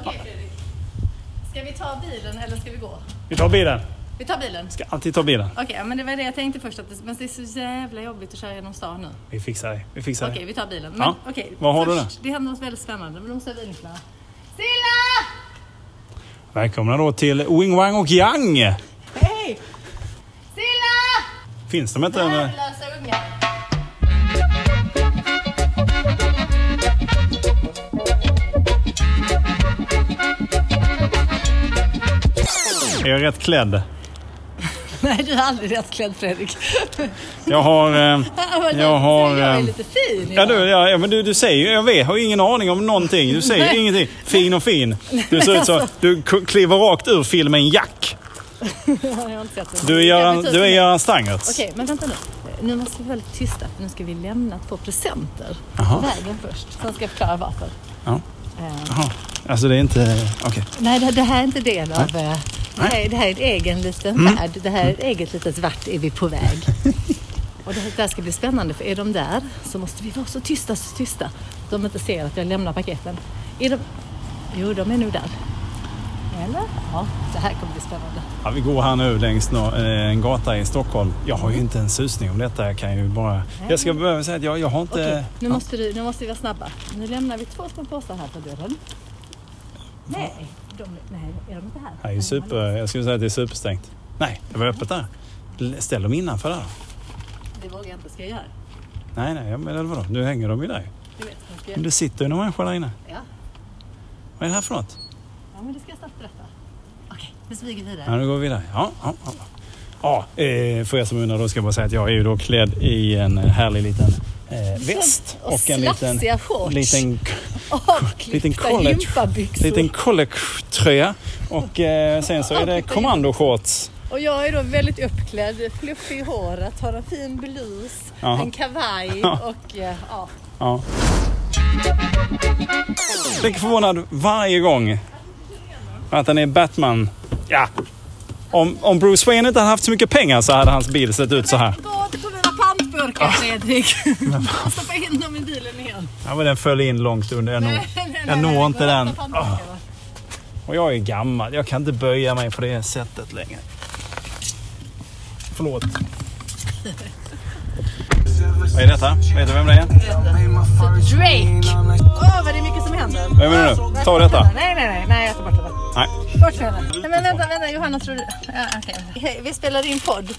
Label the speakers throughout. Speaker 1: Okej Fredrik. Ska vi ta bilen eller ska vi gå?
Speaker 2: Vi tar bilen.
Speaker 1: Vi tar bilen.
Speaker 2: Ska alltid ta bilen.
Speaker 1: Okej, men det var det jag tänkte först. Att det, men det är så jävla jobbigt att köra genom stan nu.
Speaker 2: Vi fixar det. Vi fixar
Speaker 1: Okej, vi tar bilen. Men,
Speaker 2: Ja.
Speaker 1: okej,
Speaker 2: Vad har du
Speaker 1: först, Det händer något väldigt spännande, men då måste jag vinkla. Silla!
Speaker 2: det. Välkomna då till Wing Wang och Yang.
Speaker 1: Hej! Silla!
Speaker 2: Finns de inte? än?
Speaker 1: Värdelösa ungar.
Speaker 2: Är jag rätt klädd?
Speaker 1: Nej, du är aldrig rätt klädd Fredrik.
Speaker 2: Jag har... Eh, Jag har,
Speaker 1: Jag är
Speaker 2: ehm,
Speaker 1: lite fin
Speaker 2: ja,
Speaker 1: idag.
Speaker 2: du, ja, ja, men du, du säger ju... Jag vet, har ingen aning om någonting. Du säger
Speaker 1: Nej.
Speaker 2: ingenting. Fin och fin. Du ser ut så. Du k- kliver rakt ur filmen Jack.
Speaker 1: jag har inte sett det.
Speaker 2: Du är Göran,
Speaker 1: Jag vet
Speaker 2: du är
Speaker 1: inte.
Speaker 2: Göran Stangertz.
Speaker 1: Okej, men vänta nu. Nu måste vi vara lite tysta för nu ska vi lämna två presenter
Speaker 2: Jaha.
Speaker 1: på vägen först. Sen ska jag förklara varför.
Speaker 2: Ja.
Speaker 1: Eh,
Speaker 2: Jaha. Alltså det är inte... Okej.
Speaker 1: nej, det, det här är inte del av... eh, Det här, är- det här är en egen liten
Speaker 2: Mm.
Speaker 1: värld. Det här är ett eget litet vart är vi på väg. Och det här- det här ska bli spännande för är de där så måste vi vara så tysta, så tysta. att De inte ser att jag lämnar paketen. Är de... Jo, de är nog där. Eller? Ja, det här kommer bli spännande.
Speaker 2: Ja, vi går här nu längs nå- eh, en gata i Stockholm. Jag har ju inte en susning om detta. Jag kan ju bara... Jag ska börja med att säga att eh, jag, jag har inte...
Speaker 1: Okej, nu, måste du, nu måste vi vara snabba. Nu lämnar vi två små påsar här på dörren. Nej, de, nej, är de inte här?
Speaker 2: Det är ju super, jag skulle säga att det är superstängt. Nej, det var öppet där. L- Ställ dem innanför där.
Speaker 1: Det vågar jag inte. Ska jag göra?
Speaker 2: Nej, nej, men eller vadå? Nu hänger de ju där.
Speaker 1: Jag vet vad jag ska
Speaker 2: Men
Speaker 1: göra.
Speaker 2: det sitter ju några människor där inne.
Speaker 1: Ja.
Speaker 2: Vad är det här för något?
Speaker 1: ja, men det ska jag snabbt berätta. Okej, nu smyger vi
Speaker 2: Ja,
Speaker 1: vidare.
Speaker 2: nu går vi vidare. Ja, ja, ja. ja eh, för er som undrar då ska jag bara säga att jag är ju då klädd i en härlig liten eh, väst.
Speaker 1: Och
Speaker 2: en liten,
Speaker 1: slafsiga shorts.
Speaker 2: liten, liten
Speaker 1: Avklippta
Speaker 2: college-
Speaker 1: gympabyxor.
Speaker 2: liten collegetröja. Och eh, sen så är det kommandoshorts.
Speaker 1: Och jag är då väldigt uppklädd, fluffig i håret, har en fin blus,
Speaker 2: Ja.
Speaker 1: en kavaj
Speaker 2: Ja.
Speaker 1: och eh, ja.
Speaker 2: Ja. Jag blir förvånad varje gång att han är Batman. Ja. Om, om Bruce Wayne inte hade haft så mycket pengar så hade hans bil sett ut så här.
Speaker 1: Gå inte på mina pantburkar Fredrik. Stoppa in dem i bilen igen.
Speaker 2: Ja, men den föll in långt under. Jag når, jag når inte den. Åh. Och jag är gammal. Jag kan inte böja mig på det sättet längre. Förlåt. Vad är detta? Vet du vem det är?
Speaker 1: Typ Drake! Åh, vad det är mycket som händer.
Speaker 2: Vem är det nu? Ta detta.
Speaker 1: Nej, nej, nej, nej, jag tar bort det.
Speaker 2: Nej.
Speaker 1: Bort med den. Nej, men vänta, vänta, Johanna tror du... Ja, okej. Hej, Vi spelar in podd.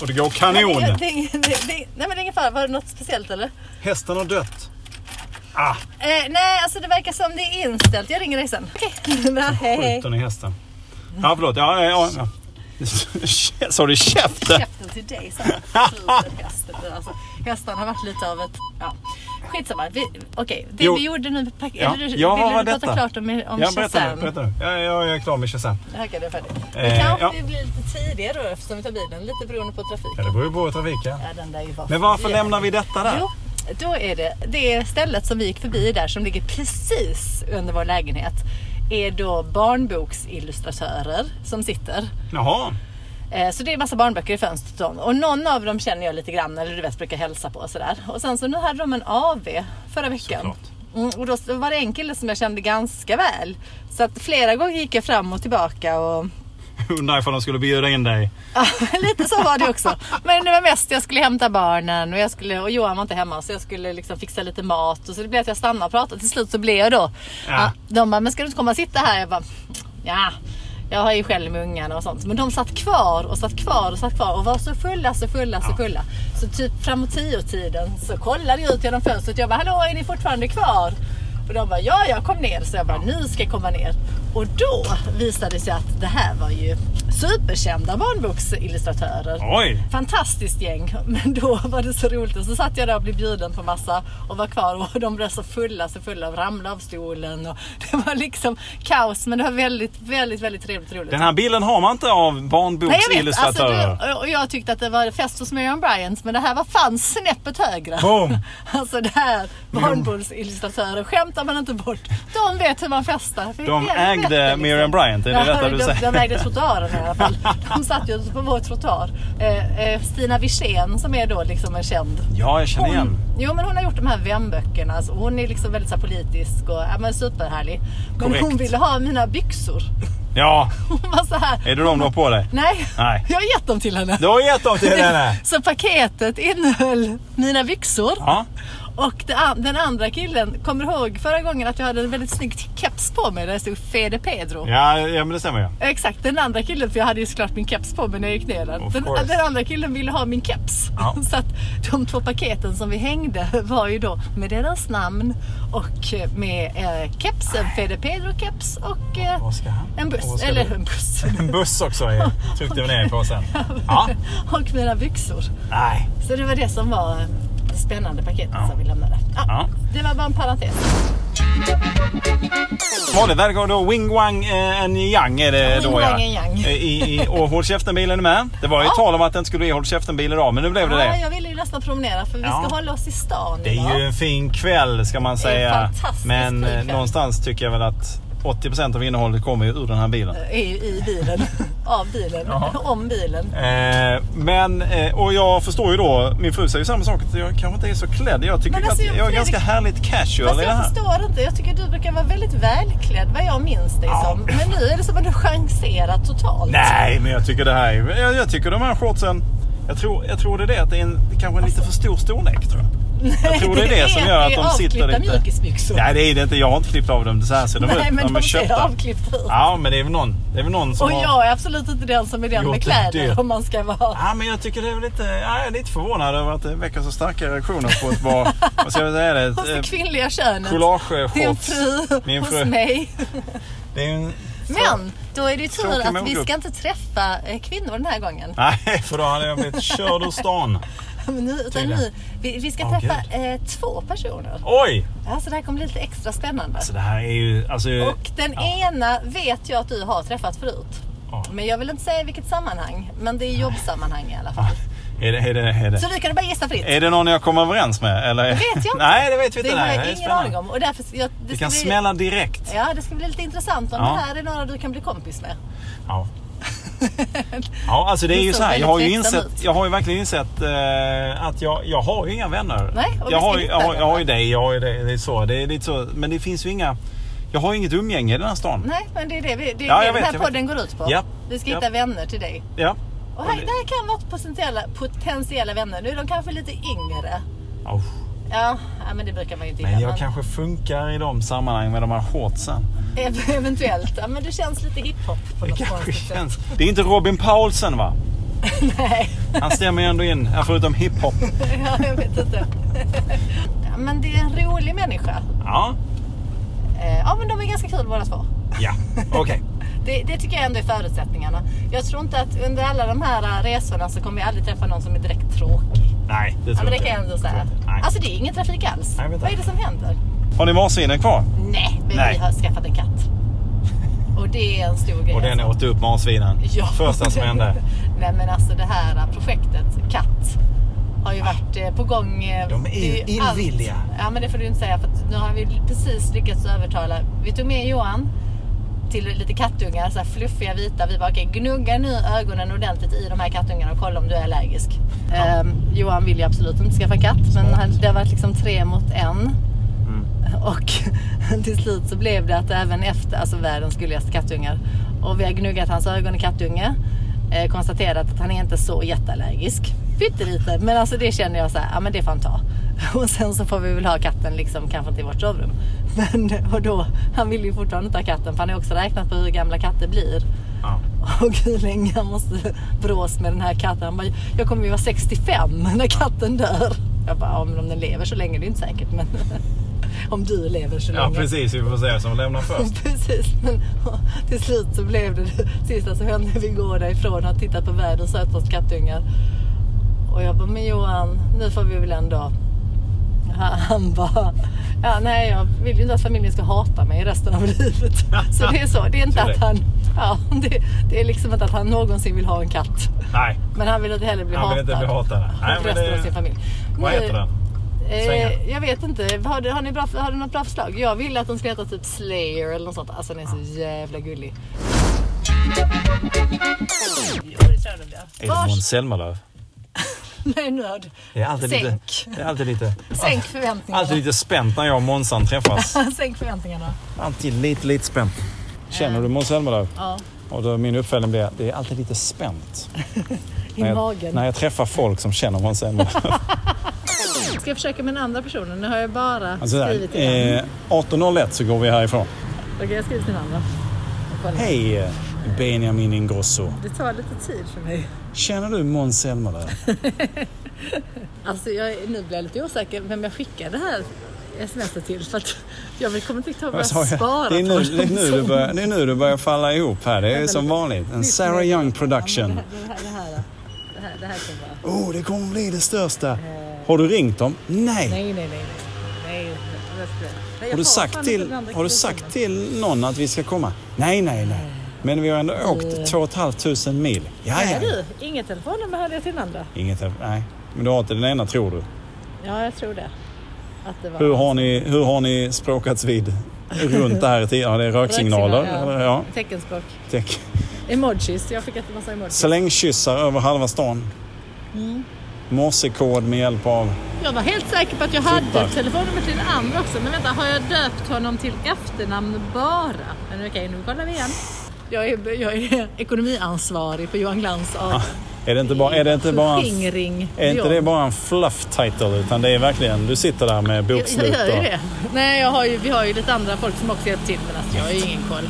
Speaker 2: Och det går kanon.
Speaker 1: Det, det, det, det, nej, men det är ingen fara. Var det något speciellt eller?
Speaker 2: Hästen har dött. Ah,
Speaker 1: Eh, nej, alltså det verkar som det är inställt. Jag ringer dig sen. Okej. Nej, hej, hej.
Speaker 2: skjuten i hästen. Ja, förlåt. Ja, ja, ja. ja. Sa du käften?
Speaker 1: Käften till dig så här. Sluta, hästen. Alltså, hästarna har varit lite av ett... Ja. Skitsamma. Vi, okej, det
Speaker 2: Jo.
Speaker 1: vi gjorde nu... Pack,
Speaker 2: Ja.
Speaker 1: Eller,
Speaker 2: Ja, vad
Speaker 1: vill
Speaker 2: var
Speaker 1: du prata
Speaker 2: detta?
Speaker 1: klart om, om
Speaker 2: Ja, berätta
Speaker 1: Shazam?
Speaker 2: nu. Berätta nu. Ja, ja, jag är klar med Shazam.
Speaker 1: Okej, det är färdigt.
Speaker 2: Eh,
Speaker 1: Men kanske
Speaker 2: ja.
Speaker 1: vi blir lite tidigare då eftersom vi tar bilen. Lite beroende på trafik.
Speaker 2: Ja, det beror ju på trafiken.
Speaker 1: Ja, den där är ju
Speaker 2: Men varför
Speaker 1: Ja.
Speaker 2: lämnar vi detta där?
Speaker 1: Jo, då är det. Det stället som vi gick förbi där som ligger precis under vår lägenhet är då barnboksillustratörer som sitter.
Speaker 2: Jaha.
Speaker 1: Eh, Så det är massa barnböcker i fönstret och sånt. och någon av dem känner jag lite grann eller du vet brukar hälsa på och sådär. Och sen så nu hade de en AV förra veckan.
Speaker 2: Såklart.
Speaker 1: Mm, och då så var det en kille som jag kände ganska väl. Så att flera gånger gick jag fram och tillbaka och
Speaker 2: Undrar ifall de skulle bjuda in dig.
Speaker 1: Ja, lite så var det också. Men det var mest jag skulle hämta barnen och, jag skulle, och Johan var inte hemma så jag skulle liksom fixa lite mat. Och så det blev att jag stannade och pratade. Till slut så blev jag då.
Speaker 2: Ja.
Speaker 1: Ja. De bara, men ska du inte komma och sitta här? Jag bara, ja. Jag har ju själv med ungarna och sånt. Men de satt kvar och satt kvar och satt kvar och var så fulla, så fulla, så fulla. Så typ framåt tio tiden så kollade jag ut genom fönstret. Jag bara, hallå är ni fortfarande kvar? Och de bara, ja jag kom ner. Så jag bara, ni ska komma ner. Och då visade det sig att det här var ju superkända barnboksillustratörer.
Speaker 2: Oj!
Speaker 1: Fantastiskt gäng, men då var det så roligt. Och så satt jag där och blev bjuden på massa och var kvar och de blev så fulla, så fulla och ramlade av stolen. Och det var liksom kaos, men det var väldigt, väldigt, väldigt trevligt och roligt.
Speaker 2: Den här bilden har man inte av
Speaker 1: Nej, jag vet. Alltså,
Speaker 2: barnboksillustratörer.
Speaker 1: det- och jag tyckte att det var fest hos Miriam Bryant, men det här var fan snäppet högre.
Speaker 2: Boom.
Speaker 1: Alltså det här, barnboksillustratörer skämtar man inte bort. De vet hur man festar. För
Speaker 2: De
Speaker 1: helvete,
Speaker 2: ägde Miriam Bryant, är det detta du
Speaker 1: liksom. de,
Speaker 2: säger?
Speaker 1: De ägde trottoaren i alla fall. De satt ju på vår trottoar. Eh, eh, Stina Wirsén som är då liksom en känd
Speaker 2: Ja, jag känner igen.
Speaker 1: Jo men hon har gjort de här vänböckerna. Alltså, hon är liksom väldigt så här, politisk och ja, men superhärlig. Men hon
Speaker 2: Korrekt.
Speaker 1: ville ha mina byxor.
Speaker 2: Ja,
Speaker 1: Hon var så här.
Speaker 2: är det de du har på dig?
Speaker 1: Nej,
Speaker 2: Nej.
Speaker 1: jag har gett dem till henne.
Speaker 2: Du har gett dem till henne?
Speaker 1: Så paketet innehöll mina byxor.
Speaker 2: Ja.
Speaker 1: Och det an- den andra killen, kommer du ihåg förra gången att jag hade en väldigt snygg keps på mig där det stod Fede Pedro?
Speaker 2: Ja, ja, men det stämmer ju.
Speaker 1: Exakt, den andra killen, för jag hade ju såklart min keps på mig när jag gick ner den.
Speaker 2: Of
Speaker 1: Den,
Speaker 2: course.
Speaker 1: den andra killen ville ha min keps.
Speaker 2: Ja.
Speaker 1: Så att de två paketen som vi hängde var ju då med deras namn och eh, med eh, kepsen, Fede Pedro-keps och eh,
Speaker 2: Vad ska han?
Speaker 1: en
Speaker 2: Vad
Speaker 1: buss.
Speaker 2: ska
Speaker 1: Eller
Speaker 2: du?
Speaker 1: en buss.
Speaker 2: En buss också är- tryckte vi ner i påsen. Ja.
Speaker 1: och mina byxor.
Speaker 2: Nej.
Speaker 1: Så det var det som var eh, det spännande paketet
Speaker 2: Ja.
Speaker 1: som vi lämnade. Ja,
Speaker 2: Ja.
Speaker 1: Det var bara en parentes.
Speaker 2: Vanligt verkar då Wing Wang eh, en Yang är det
Speaker 1: Ja,
Speaker 2: då
Speaker 1: Wing
Speaker 2: ja.
Speaker 1: Wang en Yang.
Speaker 2: Eh, I, i, och Håll Käften-bilen är med. Det var ju
Speaker 1: Ja.
Speaker 2: tal om att den skulle bli Håll Käften-bil idag men nu blev det
Speaker 1: Ja,
Speaker 2: det.
Speaker 1: jag ville ju nästan promenera för vi
Speaker 2: Ja.
Speaker 1: ska hålla oss i stan
Speaker 2: Det är ju en fin kväll ska man
Speaker 1: är en
Speaker 2: säga.
Speaker 1: fantastisk
Speaker 2: Men eh,
Speaker 1: kväll.
Speaker 2: någonstans tycker jag väl att 80% av innehållet kommer ju ur den här bilen.
Speaker 1: är ju i bilen, av bilen,
Speaker 2: Ja.
Speaker 1: om bilen.
Speaker 2: Eh, men, eh, och jag förstår ju då, min fru säger ju samma sak, att jag kanske inte är så klädd. Jag tycker
Speaker 1: Men alltså,
Speaker 2: att jag, är
Speaker 1: Fredrik-
Speaker 2: ganska härligt casual
Speaker 1: Fast
Speaker 2: i det
Speaker 1: jag
Speaker 2: här.
Speaker 1: förstår inte. Jag tycker du brukar vara väldigt välklädd vad jag minns dig
Speaker 2: Ja.
Speaker 1: som. Men nu är det som att du chanserar totalt.
Speaker 2: Nej, men jag tycker det här är, jag, jag tycker de här shortsen, jag tror, jag tror det är det att det är en, det kanske är en lite för stor storlek tror jag. Jag tror det är det, som gör att de sitter
Speaker 1: avklippta
Speaker 2: lite...
Speaker 1: mjukisbyxor.
Speaker 2: Nej det är det inte, jag har inte klippt av dem. Så här ser de
Speaker 1: Nej
Speaker 2: ut.
Speaker 1: men de ser
Speaker 2: köpta.
Speaker 1: avklippta ut.
Speaker 2: Ja men det är väl någon, det är väl någon som
Speaker 1: Och
Speaker 2: har...
Speaker 1: jag är absolut inte den som är den
Speaker 2: Gjort
Speaker 1: med
Speaker 2: det
Speaker 1: kläder
Speaker 2: dyrt.
Speaker 1: om man ska vara...
Speaker 2: Ja men jag tycker det är väl lite, ja, jag är lite förvånad över att det väcker så starka reaktioner på ett par, vad ska jag säga det?
Speaker 1: Hos det
Speaker 2: Ett, eh,
Speaker 1: kvinnliga könet. Din
Speaker 2: Collage-shorts.
Speaker 1: fru,
Speaker 2: Min
Speaker 1: hos
Speaker 2: fru.
Speaker 1: mig.
Speaker 2: Det är ju en...
Speaker 1: Men då är det ju tur
Speaker 2: Tråkig
Speaker 1: att vi
Speaker 2: målgrupp.
Speaker 1: ska inte träffa eh, kvinnor den här gången.
Speaker 2: Nej för då hade jag blivit körd ur stan.
Speaker 1: Men nu, utan
Speaker 2: Tydligen.
Speaker 1: nu, vi, vi ska
Speaker 2: Åh,
Speaker 1: träffa eh, två personer.
Speaker 2: Oj!
Speaker 1: Alltså det här kommer bli lite extra spännande.
Speaker 2: Alltså det här är ju, alltså...
Speaker 1: Och den ena vet jag att du har träffat förut.
Speaker 2: Ja.
Speaker 1: Men jag vill inte säga i vilket sammanhang. Men det är jobbsammanhang i alla fall.
Speaker 2: Är det, är det, är det.
Speaker 1: Så du kan bara gissa fritt.
Speaker 2: Är det någon jag kommer överens med? Eller? Det
Speaker 1: vet jag inte.
Speaker 2: Nej, det vet vi inte.
Speaker 1: Det har
Speaker 2: nej.
Speaker 1: jag
Speaker 2: är
Speaker 1: ingen
Speaker 2: spännande.
Speaker 1: aning om. Och därför, jag, det,
Speaker 2: Vi
Speaker 1: ska
Speaker 2: kan
Speaker 1: bli,
Speaker 2: smälla direkt.
Speaker 1: Ja, det ska bli lite intressant om
Speaker 2: Ja.
Speaker 1: det här är några du kan bli kompis med.
Speaker 2: Ja. ja, alltså det är
Speaker 1: Du
Speaker 2: ju
Speaker 1: såg
Speaker 2: så här. Jag
Speaker 1: väldigt
Speaker 2: har ju,
Speaker 1: tveksam
Speaker 2: insett,
Speaker 1: ut.
Speaker 2: jag har ju verkligen insett eh, att jag, jag har ju inga vänner.
Speaker 1: Nej, och vi
Speaker 2: jag,
Speaker 1: ska
Speaker 2: har, ju-
Speaker 1: hitta
Speaker 2: jag, har, jag har ju
Speaker 1: vänner.
Speaker 2: dig, jag har ju dig. Det är så. Det är lite så. Men det finns ju inga... Jag har ju inget umgänge i den här stan.
Speaker 1: Nej, men det är det, vi, det, är
Speaker 2: Ja,
Speaker 1: det den
Speaker 2: jag vet,
Speaker 1: här
Speaker 2: jag vet.
Speaker 1: podden går ut på.
Speaker 2: Ja.
Speaker 1: Vi ska
Speaker 2: Ja.
Speaker 1: hitta vänner till dig.
Speaker 2: Ja.
Speaker 1: Och här, det här kan vara potentiella, potentiella vänner. Nu är de kanske lite yngre.
Speaker 2: Au.
Speaker 1: Ja, ja men det brukar man ju inte
Speaker 2: Men
Speaker 1: gilla,
Speaker 2: jag kanske funkar i de sammanhang med de här shortsen.
Speaker 1: Ev- Eventuellt. Ja, men det känns lite hiphop på
Speaker 2: Det
Speaker 1: något
Speaker 2: kanske
Speaker 1: konstigt sätt.
Speaker 2: känns. Det är inte Robin Paulsen va?
Speaker 1: Nej,
Speaker 2: Han stämmer ju ändå in, ja, förutom hiphop.
Speaker 1: ja, jag vet inte. Ja, men det är en rolig människa.
Speaker 2: Ja,
Speaker 1: Eh, Ja, men de är ganska kul båda två.
Speaker 2: ja. okej.
Speaker 1: Det, det tycker jag ändå är förutsättningarna. Jag tror inte att under alla de här eh, resorna så kommer jag aldrig träffa någon som är direkt tråkig.
Speaker 2: Nej, det
Speaker 1: Ja, men
Speaker 2: tror
Speaker 1: det
Speaker 2: jag
Speaker 1: kan jag
Speaker 2: inte.
Speaker 1: ändå säga.
Speaker 2: Nej.
Speaker 1: Alltså det är ingen trafik alls.
Speaker 2: Nej, jag vet
Speaker 1: Vad är det
Speaker 2: inte.
Speaker 1: som händer?
Speaker 2: Har ni marsvinen kvar?
Speaker 1: Nej, men
Speaker 2: Nej.
Speaker 1: vi har skaffat en katt. Och det är en stor grej.
Speaker 2: Och den
Speaker 1: alltså.
Speaker 2: åt upp marsvinen.
Speaker 1: Ja.
Speaker 2: Första som hände.
Speaker 1: Nej men alltså det här projektet, katt, har ju varit eh, på gång. eh,
Speaker 2: Ah. De är ju
Speaker 1: det allt.
Speaker 2: illvilliga.
Speaker 1: Ja men det får du inte säga för att nu har vi precis lyckats övertala. Vi tog med Johan till lite kattungar, så här fluffiga vita. Vi bara okej, gnugga nu ögonen ordentligt i de här kattungarna och kolla om du är allergisk. Ehm, Johan vill ju absolut inte skaffa katt men han, det har varit liksom tre mot en. Och till slut så blev det att även efter, alltså världens gulligaste kattungar. Och vi har gnuggat hans ögon i kattunge. Eh, konstaterat att han är inte så jätteallergisk. Pyttelite, men alltså det känner jag så här, ja men det får han ta. Och sen så får vi väl ha katten liksom, kanske inte i vårt sovrum. Men och då, han vill ju fortfarande inte ha katten för han har ju också räknat på hur gamla katter blir.
Speaker 2: Ja.
Speaker 1: Och hur länge han måste brås med den här katten. Han bara, jag kommer ju vara 65 när katten dör. Jag bara, ja, men om den lever så länge, det är inte säkert. Men om du lever så
Speaker 2: ja,
Speaker 1: länge.
Speaker 2: precis. Vi får se vem som lämnar först.
Speaker 1: Precis, men ja, till slut så blev det det sista som hände. Vi går därifrån och tittar på världens sötaste kattungar. Och jag bara, men Johan, nu får vi väl ändå... Ja, Han bara, ja, nej jag vill ju inte att familjen ska hata mig resten av livet. Så det är så, det är inte
Speaker 2: Så det-
Speaker 1: att han... Ja, det, det är liksom inte att han någonsin vill ha en katt.
Speaker 2: Nej.
Speaker 1: Men han vill inte heller bli
Speaker 2: Han vill
Speaker 1: hatad.
Speaker 2: inte bli hatad. Nej,
Speaker 1: Av
Speaker 2: men
Speaker 1: resten
Speaker 2: det-
Speaker 1: av sin familj.
Speaker 2: Vad
Speaker 1: Nu-
Speaker 2: heter den? Svänga.
Speaker 1: Eh, jag vet inte. Har, du- har, ni bra, har du något bra förslag? Jag vill att de ska heta typ Slayer eller något sånt. Alltså den är så jävla gullig.
Speaker 3: Jo, det tror jag nog det.
Speaker 2: Är det
Speaker 1: Vars-
Speaker 2: Måns Zelmerlöw?
Speaker 1: Nej, nu har du.
Speaker 2: Det är alltid lite...
Speaker 1: Sänk.
Speaker 2: Det är alltid lite...
Speaker 1: Sänk förväntningarna.
Speaker 2: Alltid lite spänt när jag och Månsan träffas.
Speaker 1: Sänk förväntningarna.
Speaker 2: Alltid lite, lite spänt. Känner du Måns Zelmerlöw?
Speaker 1: Ja.
Speaker 2: Och då min uppföljning blir det är alltid lite spänt.
Speaker 1: I
Speaker 2: när, jag,
Speaker 1: magen.
Speaker 2: när jag träffar folk som känner Måns Zelmerlöw.
Speaker 1: Ska jag försöka med den andra personen? Nu har jag bara
Speaker 2: Alltså
Speaker 1: skrivit
Speaker 2: där,
Speaker 1: till eh...
Speaker 2: eh, 18.01 så går vi härifrån.
Speaker 1: Okej, jag skriver till den andra. Jag kollar.
Speaker 2: Hej Benjamin Ingrosso.
Speaker 1: Det tar lite tid för mig.
Speaker 2: Känner du Måns Zelmerlöw?
Speaker 1: Alltså, jag, nu blir jag lite osäker vem jag skickar det här smset till. För att jag vill- kommer inte riktigt ihåg vad
Speaker 2: Vad sa
Speaker 1: jag
Speaker 2: jag?
Speaker 1: sparar
Speaker 2: Det är, nu,
Speaker 1: på.
Speaker 2: det, är nu du börjar, det är nu du börjar falla ihop här. Det är som vanligt. En Sarah Young production.
Speaker 1: Det här, det här, det här, det här kommer vara...
Speaker 2: Oh, det kommer bli det största. Har du ringt dem?
Speaker 1: Nej,
Speaker 2: Nej.
Speaker 1: nej, nej. nej. nej, det ska jag- nej jag
Speaker 2: Har du
Speaker 1: har fan
Speaker 2: sagt
Speaker 1: inte
Speaker 2: till,
Speaker 1: den andra
Speaker 2: har du
Speaker 1: kniven.
Speaker 2: sagt till någon att vi ska komma? Nej, nej, nej. Men vi har ändå åkt två och ett halvt tusen mil. Ja,
Speaker 1: Nej
Speaker 2: ja.
Speaker 1: du, inget telefonnummer hade jag till den andra.
Speaker 2: Inget, nej. Men du har inte den ena tror du.
Speaker 1: Ja, jag tror det. Att det var...
Speaker 2: Hur har ni, hur har ni språkats vid runt det här? till- Ja, det är röksignaler.
Speaker 1: Röksignaler,
Speaker 2: Eller, ja.
Speaker 1: Teckenspråk.
Speaker 2: Tänk.
Speaker 1: Emojis. Jag fick en massa emojis.
Speaker 2: Slängkyssar över halva stan.
Speaker 1: Mm.
Speaker 2: Morsekod med hjälp av...
Speaker 1: Jag var helt säker på att jag hade
Speaker 2: Tuppar.
Speaker 1: ett telefonnummer till den andra också. Men vänta, har jag döpt honom till efternamn bara? Men okej, nu kollar vi igen. Jag är, jag är ekonomiansvarig på Johan Glans AB.
Speaker 2: Är Ah, det inte bara, är det inte bara en,
Speaker 1: Förskingring.
Speaker 2: är inte det
Speaker 1: Beyond.
Speaker 2: bara en fluff title? Utan det är verkligen, du sitter där med
Speaker 1: jag,
Speaker 2: bokslut
Speaker 1: jag gör ju
Speaker 2: och-
Speaker 1: det. Nej, jag har ju, vi har ju lite andra folk som också hjälper till. Men alltså, jag har ju ingen koll.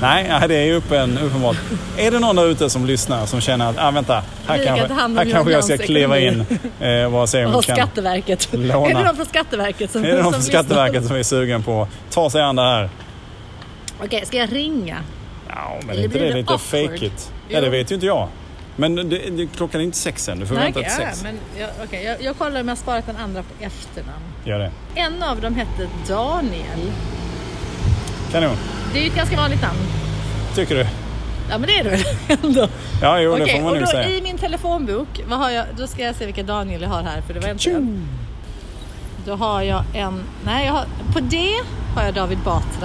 Speaker 2: Nej, nej, det är ju uppen, uppenbart. är det någon där ute som lyssnar som känner att, ah, vänta, här
Speaker 1: Vi kan
Speaker 2: kanske,
Speaker 1: ta hand om
Speaker 2: här
Speaker 1: Johan
Speaker 2: kanske jag ska
Speaker 1: Glans
Speaker 2: kliva in
Speaker 1: ekonomi.
Speaker 2: eh, och bara se om
Speaker 1: Och
Speaker 2: vi kan...
Speaker 1: Skatteverket.
Speaker 2: låna.
Speaker 1: Är det någon från Skatteverket som
Speaker 2: Är det någon
Speaker 1: som
Speaker 2: från Skatteverket som är sugen på att ta sig an det här?
Speaker 1: lyssnar? Okej, ska jag ringa?
Speaker 2: Ja, men
Speaker 1: Eller
Speaker 2: är inte
Speaker 1: blir
Speaker 2: det
Speaker 1: det
Speaker 2: lite
Speaker 1: awkward?
Speaker 2: fejkigt?
Speaker 1: Jo.
Speaker 2: Ja, det vet ju inte jag. Men det, det, klockan är inte sex än, du får vänta
Speaker 1: okej,
Speaker 2: till
Speaker 1: ja,
Speaker 2: sex.
Speaker 1: men jag, okej, jag, jag kollar om jag har sparat den andra på efternamn.
Speaker 2: Gör det.
Speaker 1: En av dem hette Daniel.
Speaker 2: Kanon,
Speaker 1: Det är ju ett ganska vanligt namn.
Speaker 2: tycker du?
Speaker 1: Ja men det är det väl ändå.
Speaker 2: Ja, jo, det
Speaker 1: Okej,
Speaker 2: får man
Speaker 1: och
Speaker 2: nog
Speaker 1: då
Speaker 2: säga.
Speaker 1: i min telefonbok, vad har jag? Då ska jag se vilka Daniel jag har här för det var inte en. Då har jag en, nej jag har, på D har jag David Batra.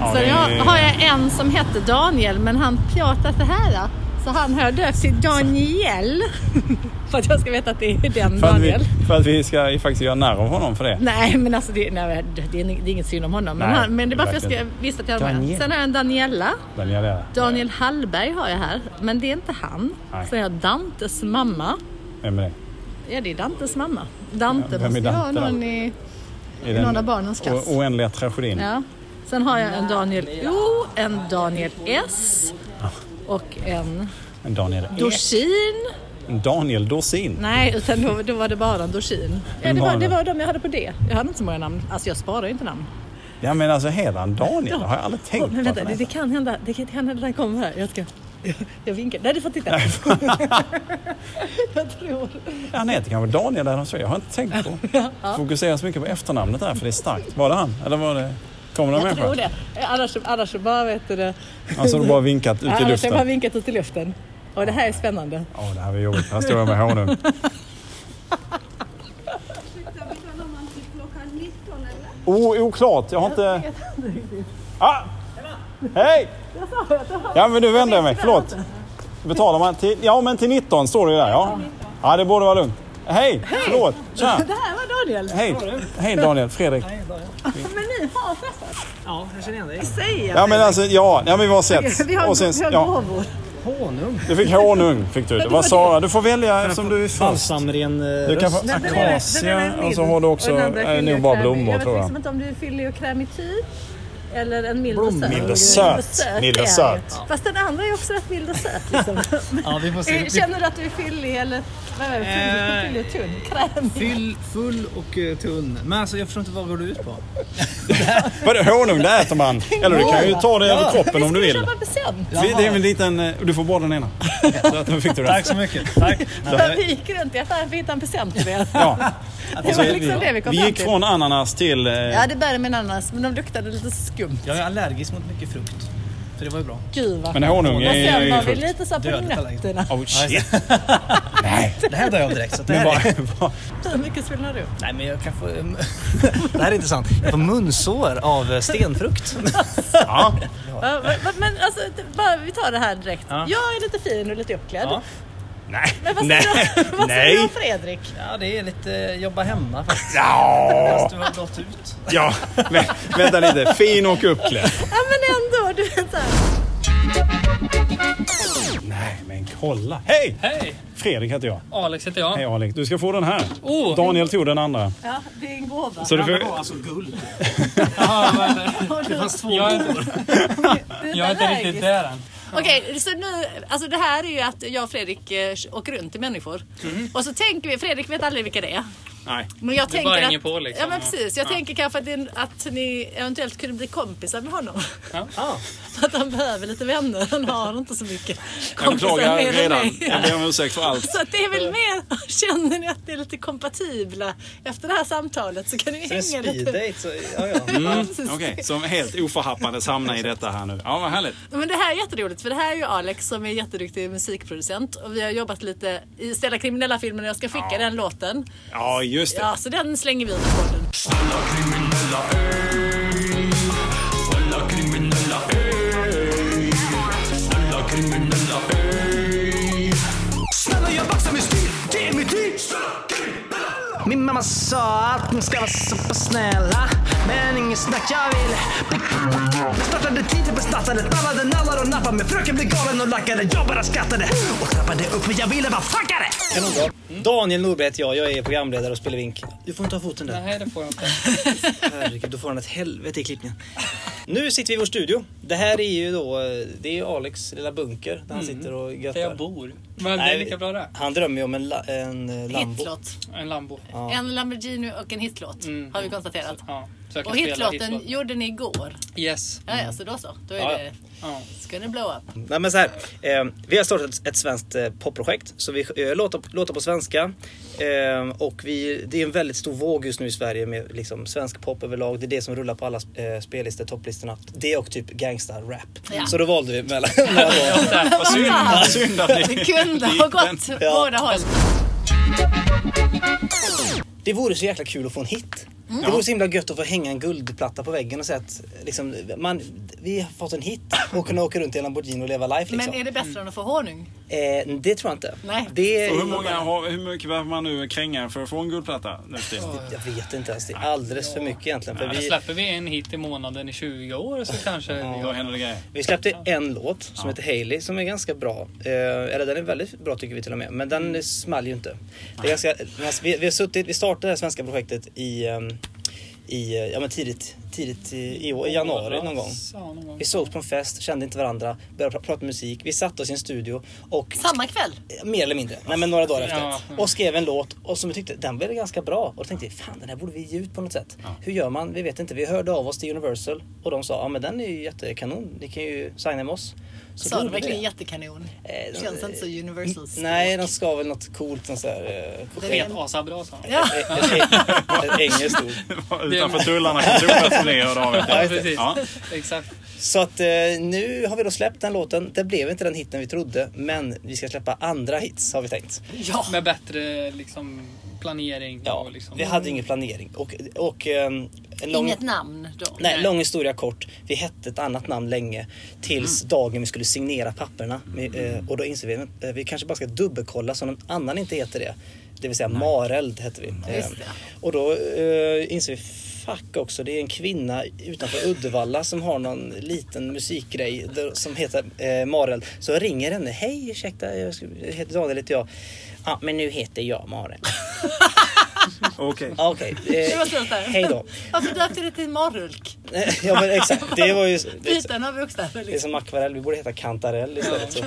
Speaker 2: Ja, det
Speaker 1: Sen
Speaker 2: är-
Speaker 1: jag, har jag en som hette Daniel men han pjatade det här. Så han har jag döpt till Daniel. för att jag ska veta att det är den
Speaker 2: för, att vi,
Speaker 1: Daniel.
Speaker 2: för att vi ska ju faktiskt göra narr av honom för det.
Speaker 1: Nej men alltså det, nej, det, är, ing- det är inget synd om honom. Men,
Speaker 2: Nej,
Speaker 1: han, men det är bara för att jag ska,
Speaker 2: verkligen.
Speaker 1: visste att jag hade med.
Speaker 2: Daniel.
Speaker 1: Sen har jag en Daniela.
Speaker 2: Daniel, är-
Speaker 1: Daniel Hallberg har jag här, men det är inte han.
Speaker 2: Nej.
Speaker 1: Sen har jag Dantes mamma.
Speaker 2: Vem är det?
Speaker 1: Ja, det är Dantes mamma. Dante
Speaker 2: Ja, vem är
Speaker 1: måste ju ha
Speaker 2: Dante då?
Speaker 1: någon i...
Speaker 2: I
Speaker 1: någon av barnens klass.
Speaker 2: o- oändliga tragedin.
Speaker 1: Ja. Sen har jag en Daniel O, en Daniel S och en
Speaker 2: En Daniel
Speaker 1: Dorsin.
Speaker 2: En Daniel Dorsin.
Speaker 1: Nej, utan då, då var det bara en Dorsin. Ja,
Speaker 2: En
Speaker 1: det, var,
Speaker 2: vanlig.
Speaker 1: det var de jag hade på det. Jag hade inte så många namn. Alltså jag sparar ju inte namn.
Speaker 2: Ja men alltså heter han Daniel? Det har jag aldrig tänkt
Speaker 1: Åh, men
Speaker 2: på. att
Speaker 1: vänta,
Speaker 2: han
Speaker 1: det, det
Speaker 2: heter.
Speaker 1: kan hända. Det kan hända att den kommer här. Jag ska... Jag vinkar. Nej, du får titta. jag tror...
Speaker 2: Han heter kanske Daniel eller något sånt. Jag har inte tänkt på. Fokusera så mycket på efternamnet där för det är starkt. Var det han? Eller var det... Kommer det en
Speaker 1: Jag tror
Speaker 2: människa?
Speaker 1: det. Annars, annars så bara vet du det.
Speaker 2: Alltså du bara vinkat ut i
Speaker 1: Annars har jag bara
Speaker 2: luften.
Speaker 1: vinkat ut i luften. Och det här är spännande.
Speaker 2: Åh det här var jobbigt. Här står jag med honung.
Speaker 4: Vi talar om att vi plockar 19 eller?
Speaker 2: Oh, oklart. Jag har inte... Ah! Hej! Ja, men du vände mig. Förlåt. Betalar man till... Ja, men till 19 står det ju där. Ja, ja det borde vara lugnt. Hej! Förlåt. Tja!
Speaker 1: Det här var Daniel.
Speaker 2: Hej! Hej Daniel. Fredrik.
Speaker 1: Men ni har träffat
Speaker 3: Ja, jag känner igen dig.
Speaker 1: säger jag.
Speaker 2: Ja, men alltså ja. Ja, men vi har sett.
Speaker 1: Vi har,
Speaker 2: Och sen,
Speaker 1: vi har
Speaker 2: ja,
Speaker 1: gåvor.
Speaker 3: Honung.
Speaker 2: du fick honung. Fick du. Det var Sara. Du får välja eftersom du är först.
Speaker 3: Balsamren eh,
Speaker 2: Du kan
Speaker 3: röst.
Speaker 2: få akacia och så alltså, har du också
Speaker 1: Och den andra
Speaker 2: eh,
Speaker 1: fyller
Speaker 2: nog bara
Speaker 1: och krämig.
Speaker 2: blommor
Speaker 1: Jag
Speaker 2: tror
Speaker 1: vet liksom
Speaker 2: jag.
Speaker 1: inte om du fyller och krämig typ. Eller en mild och söt.
Speaker 2: Mild och söt. Mild och
Speaker 1: är
Speaker 2: söt.
Speaker 1: jag ju. Fast den andra är också rätt mild och söt. Liksom.
Speaker 3: Ja, vi får se.
Speaker 1: Eh,
Speaker 3: Vi-
Speaker 1: Känner du att du är fyllig eller vad är det?
Speaker 3: Eh.
Speaker 1: fyllig, fyllig och tunn? Krämig?
Speaker 3: Fyll, full och eh, tunn. Men alltså jag förstår inte vad går du ut på?
Speaker 2: Vadå honung? Det äter man. Eller du kan ju ta det över kroppen om du
Speaker 1: Vi
Speaker 2: vill.
Speaker 1: ska köpa present.
Speaker 2: Vi- Det är en liten... eh, Du får bara den ena. Så att nu fick du den.
Speaker 3: Tack så mycket. Tack.
Speaker 1: Vi gick runt i affären för att hitta en present till er.
Speaker 2: Ja.
Speaker 1: Det
Speaker 2: så
Speaker 1: var
Speaker 2: är
Speaker 1: liksom det vi kom
Speaker 2: Alltså, Vi
Speaker 1: fram
Speaker 2: gick
Speaker 1: till.
Speaker 2: från ananas till... eh,
Speaker 1: Ja, det började med en ananas, men de luktade lite skumt.
Speaker 3: Jag är allergisk mot mycket frukt. För det var ju bra.
Speaker 1: Gud vad
Speaker 2: Men honung
Speaker 1: Och
Speaker 2: är, är
Speaker 1: sen
Speaker 2: ju
Speaker 1: var vi
Speaker 2: fullt.
Speaker 1: lite så på
Speaker 3: Dödligt alla grejer.
Speaker 1: nätterna.
Speaker 2: Oh shit. Nej.
Speaker 3: Det här drar jag av direkt. Så att det
Speaker 2: Men
Speaker 3: här är...
Speaker 2: bara, bara,
Speaker 1: Hur mycket spelar du?
Speaker 3: Nej men jag kan få... um, det här är intressant. Jag får munsår av eh, stenfrukt.
Speaker 2: ja.
Speaker 1: Ja, va- va- Men alltså, t- bara, vi tar det här direkt.
Speaker 3: Ja.
Speaker 1: Jag är lite fin och lite uppklädd.
Speaker 3: Ja.
Speaker 2: Nej.
Speaker 1: Men vad
Speaker 2: Nej.
Speaker 1: säger du- vad säger du om
Speaker 2: Nej.
Speaker 1: Fredrik?
Speaker 3: Ja det är lite eh, jobba hemma faktiskt.
Speaker 2: Ja.
Speaker 3: Fast du har gått ut.
Speaker 2: ja. Vä- Vänta lite. Fin och uppklädd.
Speaker 1: Ja men ändå, du vet såhär.
Speaker 2: Nej men kolla. Hej!
Speaker 5: Hej!
Speaker 2: Fredrik heter jag.
Speaker 5: Alex heter jag.
Speaker 2: Hej Alex. Du ska få den här.
Speaker 5: Oh.
Speaker 2: Daniel tog den andra.
Speaker 1: Ja, det är en gåva.
Speaker 2: Så du får...
Speaker 3: alltså guld.
Speaker 5: Jaha, men,
Speaker 3: Det fanns två
Speaker 5: jag,
Speaker 3: guld.
Speaker 5: är,
Speaker 1: Du
Speaker 5: jag är inte
Speaker 1: allergisk.
Speaker 5: riktigt där än.
Speaker 1: Okej, så nu, alltså det här är ju att jag och Fredrik eh, åker runt till människor.
Speaker 5: Mm.
Speaker 1: Och så tänker vi, Fredrik vet aldrig vilka det är.
Speaker 2: Nej.
Speaker 1: Men jag tänker
Speaker 5: bara
Speaker 1: att,
Speaker 5: hänger på liksom.
Speaker 1: Ja men precis, jag tänker kanske att, det- att ni eventuellt kunde bli kompisar med honom.
Speaker 5: Ja.
Speaker 1: För att han behöver lite vänner, han har inte så mycket
Speaker 2: Jag
Speaker 1: kompisar
Speaker 2: beklagar
Speaker 1: mer än
Speaker 2: redan.
Speaker 1: mig.
Speaker 2: Jag ber om ursäkt för allt.
Speaker 1: Så att det är väl mer, känner ni att ni är lite kompatibla efter det här samtalet så kan ni
Speaker 3: En
Speaker 1: hänga
Speaker 3: speed
Speaker 1: lite.
Speaker 3: date, så, ja, ja.
Speaker 5: Mm,
Speaker 1: Precis.
Speaker 2: Okej, som helt oförhappandes hamnar i detta här nu. Ja, vad härligt.
Speaker 1: Men det här är jätteroligt för det här är ju Alex som är jätteduktig musikproducent och vi har jobbat lite i Ställa kriminella-filmen och jag ska skicka den låten.
Speaker 2: Ja, just det.
Speaker 1: Ja, så den slänger vi in i podden.
Speaker 6: Alla kriminella, ey Alla kriminella, ey Alla kriminella, ey Snälla jag baxar min stil, det är mitt liv
Speaker 3: Min mamma sa att ni ska vara så pass snälla Men inget snack jag vill Besnattade tiden besnattade Nallade nallar och nappade Men fröken blev galen och lackade Jag bara skrattade och trappade upp Men jag ville vara fuckare Daniel Norberg heter jag, jag är programledare och spelar vink. Du får inte ha foten där.
Speaker 5: Nej, det får jag inte.
Speaker 3: Herregud, då får han ett helvete i klippningen. Nu sitter vi i vår studio. Det här är ju då, eh, det är ju Alex lilla bunker där han sitter och
Speaker 5: Mm. Där jag
Speaker 3: göttar.
Speaker 5: bor. Men det är
Speaker 3: Nej,
Speaker 5: lika bra det.
Speaker 3: Han drömmer ju om en, la, en eh, Lambo.
Speaker 1: Hitlåt.
Speaker 5: En Lambo.
Speaker 1: En Lamborghini och en hitlåt har vi konstaterat.
Speaker 5: Ja, så Mm. jag kan
Speaker 1: Och
Speaker 5: spela
Speaker 1: hitlåten
Speaker 5: hitlåt.
Speaker 1: gjorde ni igår.
Speaker 5: Yes.
Speaker 1: Ja, ja, så då så. Då är
Speaker 3: Ja, ja.
Speaker 1: det...
Speaker 5: Ja.
Speaker 1: Ska ni blow up?
Speaker 3: Nej men så här, eh, vi har startat ett- ett svenskt eh, popprojekt. Så vi eh, låter, låter på svenska. Eh, och vi, det är en väldigt stor våg just nu i Sverige med liksom, svensk pop överlag. Det är det som rullar på alla eh, spellistor, topplistorna. Det och typ gangsta-rap.
Speaker 1: Ja.
Speaker 3: Så då valde vi mellan... mellan
Speaker 2: Vad synd, vad synd att ni...
Speaker 1: Det kunde ha gått
Speaker 3: Ja.
Speaker 1: båda håll.
Speaker 3: det vore så jäkla kul att få en hit.
Speaker 1: Mm.
Speaker 3: Det vore så himla gött att få hänga en guldplatta på väggen och säga att liksom, man, vi har fått en hit och kunna åka runt i en Lamborghini och leva life liksom.
Speaker 1: Men är det bättre än att få honung?
Speaker 3: eh, det tror jag inte.
Speaker 1: Nej.
Speaker 3: Det,
Speaker 2: Och hur, många, har- hur mycket behöver man nu kränga för att få en guldplatta? Nu för tiden?
Speaker 3: Jag vet inte ens, det är alldeles för mycket egentligen. För
Speaker 5: Ja,
Speaker 3: vi,
Speaker 5: Släpper vi en hit i månaden i 20 år så kanske vi
Speaker 2: Då
Speaker 5: har
Speaker 2: händer det grejer.
Speaker 3: Vi släppte en låt som heter Hailey som är ganska bra. Eh, eller den är väldigt bra tycker vi till och med. Men den small ju inte. Det är ganska, men alltså, vi, vi har suttit, vi startade det här svenska projektet i, ehm, i eh, ja, men tidigt, tidigt i, i, år, i januari någon gång.
Speaker 5: Ja, någon gång.
Speaker 3: Vi sågs på en fest, kände inte varandra, började pra- prata musik. Vi satte oss i en studio och
Speaker 1: Samma kväll?
Speaker 3: mer eller mindre, nej men några dagar efter.
Speaker 5: Ja.
Speaker 3: Och skrev en låt och som vi tyckte, den blev ganska bra. Och då tänkte vi, fan den här borde vi ge ut på något sätt. Hur gör man? Vi vet inte. Vi hörde av oss till Universal och de sa, ja men den är ju jättekanon. Ni kan ju signa med oss. Så
Speaker 1: Sa
Speaker 3: gjorde
Speaker 1: de
Speaker 3: vi
Speaker 1: verkligen
Speaker 3: det.
Speaker 1: jättekanon?
Speaker 3: Eh, de-
Speaker 1: Känns inte så universal.
Speaker 3: Nej, de ska väl något coolt, något så här... eh,
Speaker 1: Det är
Speaker 5: Vet
Speaker 1: en-
Speaker 5: asabra sa han.
Speaker 1: Ja.
Speaker 3: Ett, ett, ett, ett engelskt ord.
Speaker 2: Utanför tullarna för tullar som ni hörde av er
Speaker 3: Ja,
Speaker 2: till.
Speaker 3: just det.
Speaker 5: Precis.
Speaker 2: Ja.
Speaker 5: Exakt.
Speaker 3: Så att eh, nu har vi då släppt den låten. Det blev inte den hitten vi trodde, men vi ska släppa andra hits har vi tänkt.
Speaker 1: Ja.
Speaker 5: Med bättre liksom, planering.
Speaker 3: Ja,
Speaker 5: Och, liksom.
Speaker 3: vi hade ingen planering. Och, och, eh, en lång...
Speaker 1: Inget namn då?
Speaker 3: Nej, lång historia kort. Vi hette ett annat namn länge tills
Speaker 1: Mm.
Speaker 3: dagen vi skulle signera papperna. Vi, eh, och då insåg vi att eh, vi kanske bara ska dubbelkolla så någon annan inte heter det. Det vill säga Mareld hette vi. Eh,
Speaker 1: Just det.
Speaker 3: och då eh, insåg vi, fuck också, det är en kvinna utanför Uddevalla som har någon liten musikgrej där- som heter eh, Mareld. Så jag ringer henne, hej ursäkta, jag skulle- jag heter Daniel heter jag. Ja, men nu heter jag Mareld.
Speaker 2: Okej.
Speaker 3: Ah, Okej,
Speaker 1: Det var slut där.
Speaker 3: eh, hej då.
Speaker 1: Varför döpte du det till Marulk?
Speaker 3: ja men exakt, det var ju...
Speaker 1: Byten av bokstäver
Speaker 3: Det är
Speaker 1: liksom.
Speaker 3: som akvarell, vi borde heta kantarell istället. Så.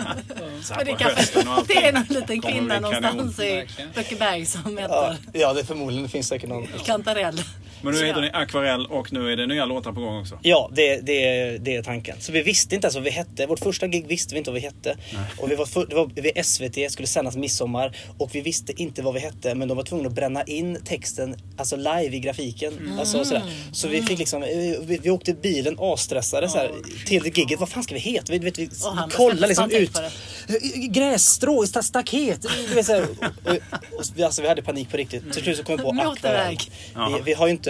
Speaker 1: Men det, kanske, det är någon liten kvinna någonstans i
Speaker 5: Verkligen.
Speaker 1: Böckeberg som
Speaker 3: Ja,
Speaker 1: heter
Speaker 3: ja, det är förmodligen det finns säkert någon.
Speaker 1: Kantarell.
Speaker 2: Men nu heter ni Akvarell och nu är det nya låtar på gång också.
Speaker 3: Ja, det, det, det är tanken. Så vi visste inte ens vad vi hette. Vårt första gig visste vi inte vad vi hette. Och vi var, för, det var vid SVT, skulle sändas midsommar. Och vi visste inte vad vi hette. Men de var tvungna att bränna in texten, alltså live i grafiken.
Speaker 1: Mm.
Speaker 3: Alltså, sådär. Så vi fick liksom, eh, vi, vi åkte bilen asstressade såhär, till det gigget. Vad fan ska vi heta? Vi, vet, vi,
Speaker 1: Och han
Speaker 3: vi kollade liksom
Speaker 1: bestämde sig
Speaker 3: ut. Eh,
Speaker 1: för
Speaker 3: Grässtrå, sta- staket. Du vet, såhär. och, och, och, vi- alltså, vi hade panik på riktigt. Till slut så kom vi på
Speaker 1: Motorväg.
Speaker 3: Akvarell. Vi, vi har ju inte,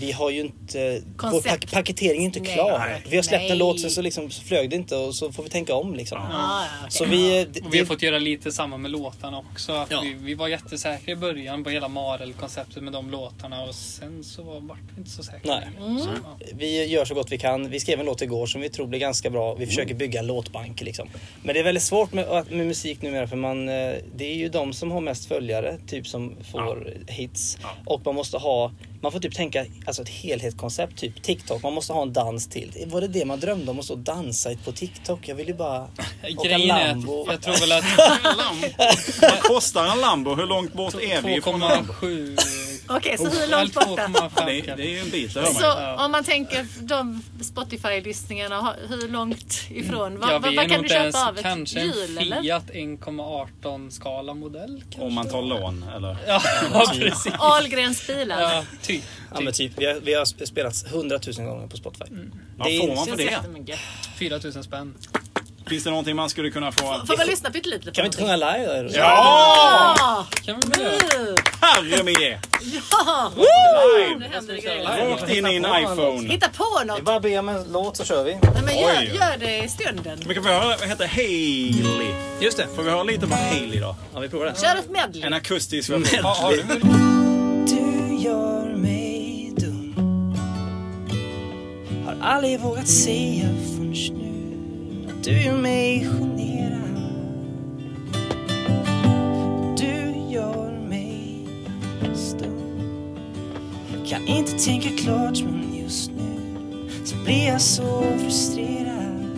Speaker 3: vi har ju inte, vår
Speaker 1: Koncept.
Speaker 3: pak- paketering är inte
Speaker 1: Nej.
Speaker 3: klar.
Speaker 1: Nej.
Speaker 3: Vi har släppt
Speaker 1: Nej. Ah,
Speaker 3: en låt sen så, liksom, så flög det inte och så får vi tänka om liksom.
Speaker 1: Ja, ja, okej.
Speaker 3: Så vi, det,
Speaker 5: Och vi har fått göra lite samma med låtarna också. Att
Speaker 3: Ja.
Speaker 5: vi, vi var jättesäkra i början på hela Marel-konceptet med de låtarna och sen så var- vart vi inte så säkra
Speaker 3: Nej.
Speaker 5: längre. Så, ja.
Speaker 3: vi gör så gott vi kan. Vi skrev en låt igår som vi tror blir ganska bra. Vi försöker bygga en låtbank liksom. Men det är väldigt svårt med, med musik numera för man, eh, det är ju de som har mest följare typ som får hits. Och man måste ha, man får typ tänka alltså ett helhetskoncept, typ TikTok. Man måste ha en dans till. Var det det man drömde om? Att stå och dansa på TikTok? Jag vill ju bara åka
Speaker 5: Grejen är
Speaker 3: Lambo.
Speaker 5: att jag tror väl att
Speaker 2: Vad kostar en Lambo? Hur långt bort är vi från en Lambo?
Speaker 5: 2,7...
Speaker 1: Okej,
Speaker 3: Oh,
Speaker 1: så hur
Speaker 5: Allt
Speaker 1: långt borta?
Speaker 5: 2,5
Speaker 2: Det, det
Speaker 5: kanske.
Speaker 2: är ju en bit, det hör man ju.
Speaker 1: Så om man tänker de Spotify-lyssningarna, har- hur långt ifrån? Vad,
Speaker 5: Ja,
Speaker 1: vad,
Speaker 5: vi
Speaker 1: vad
Speaker 5: är
Speaker 1: kan
Speaker 5: nog
Speaker 1: du
Speaker 5: inte ens
Speaker 1: köpa av ett
Speaker 5: kanske
Speaker 1: hjul
Speaker 5: en
Speaker 1: eller?
Speaker 5: Fiat 1,18 skala modell. kanske.
Speaker 2: Om man tar lån eller?
Speaker 5: Ja, precis.
Speaker 1: Ahlgrens bilar.
Speaker 5: Ja, typ.
Speaker 3: Ja men typ, vi har, vi har spelats hundratusen gånger på Spotify.
Speaker 2: Vad
Speaker 3: är-
Speaker 2: får man för
Speaker 1: Känns
Speaker 2: det?
Speaker 1: jättemycket.
Speaker 5: 4000 spänn.
Speaker 2: Finns det någonting man skulle kunna få?
Speaker 1: Får man lyssna pyttelite på
Speaker 3: Kan vi inte
Speaker 1: någonting?
Speaker 3: sjunga live? då?
Speaker 2: Ja!
Speaker 1: Ja!
Speaker 5: Kan vi väl göra?
Speaker 2: Herre min!
Speaker 1: Ja! Nu händer det grejer.
Speaker 2: Rakt in i en iPhone.
Speaker 1: Hitta på
Speaker 3: Det är
Speaker 1: något!
Speaker 3: bara att be om en låt så kör vi.
Speaker 1: Nej, men gör,
Speaker 2: Oj.
Speaker 1: gör det i stunden.
Speaker 2: Men kan vi höra, vad heter Hailey?
Speaker 3: Just det.
Speaker 2: Får vi höra lite om Hailey då?
Speaker 3: Ja, vi provar det.
Speaker 1: Kör ett medley.
Speaker 2: En akustisk version.
Speaker 5: Har, har du väl?
Speaker 3: Du gör mig dum Har aldrig vågat säga förrän nu att du gör mig generad Du gör mig stum Kan inte tänka klart men just nu så blir jag så frustrerad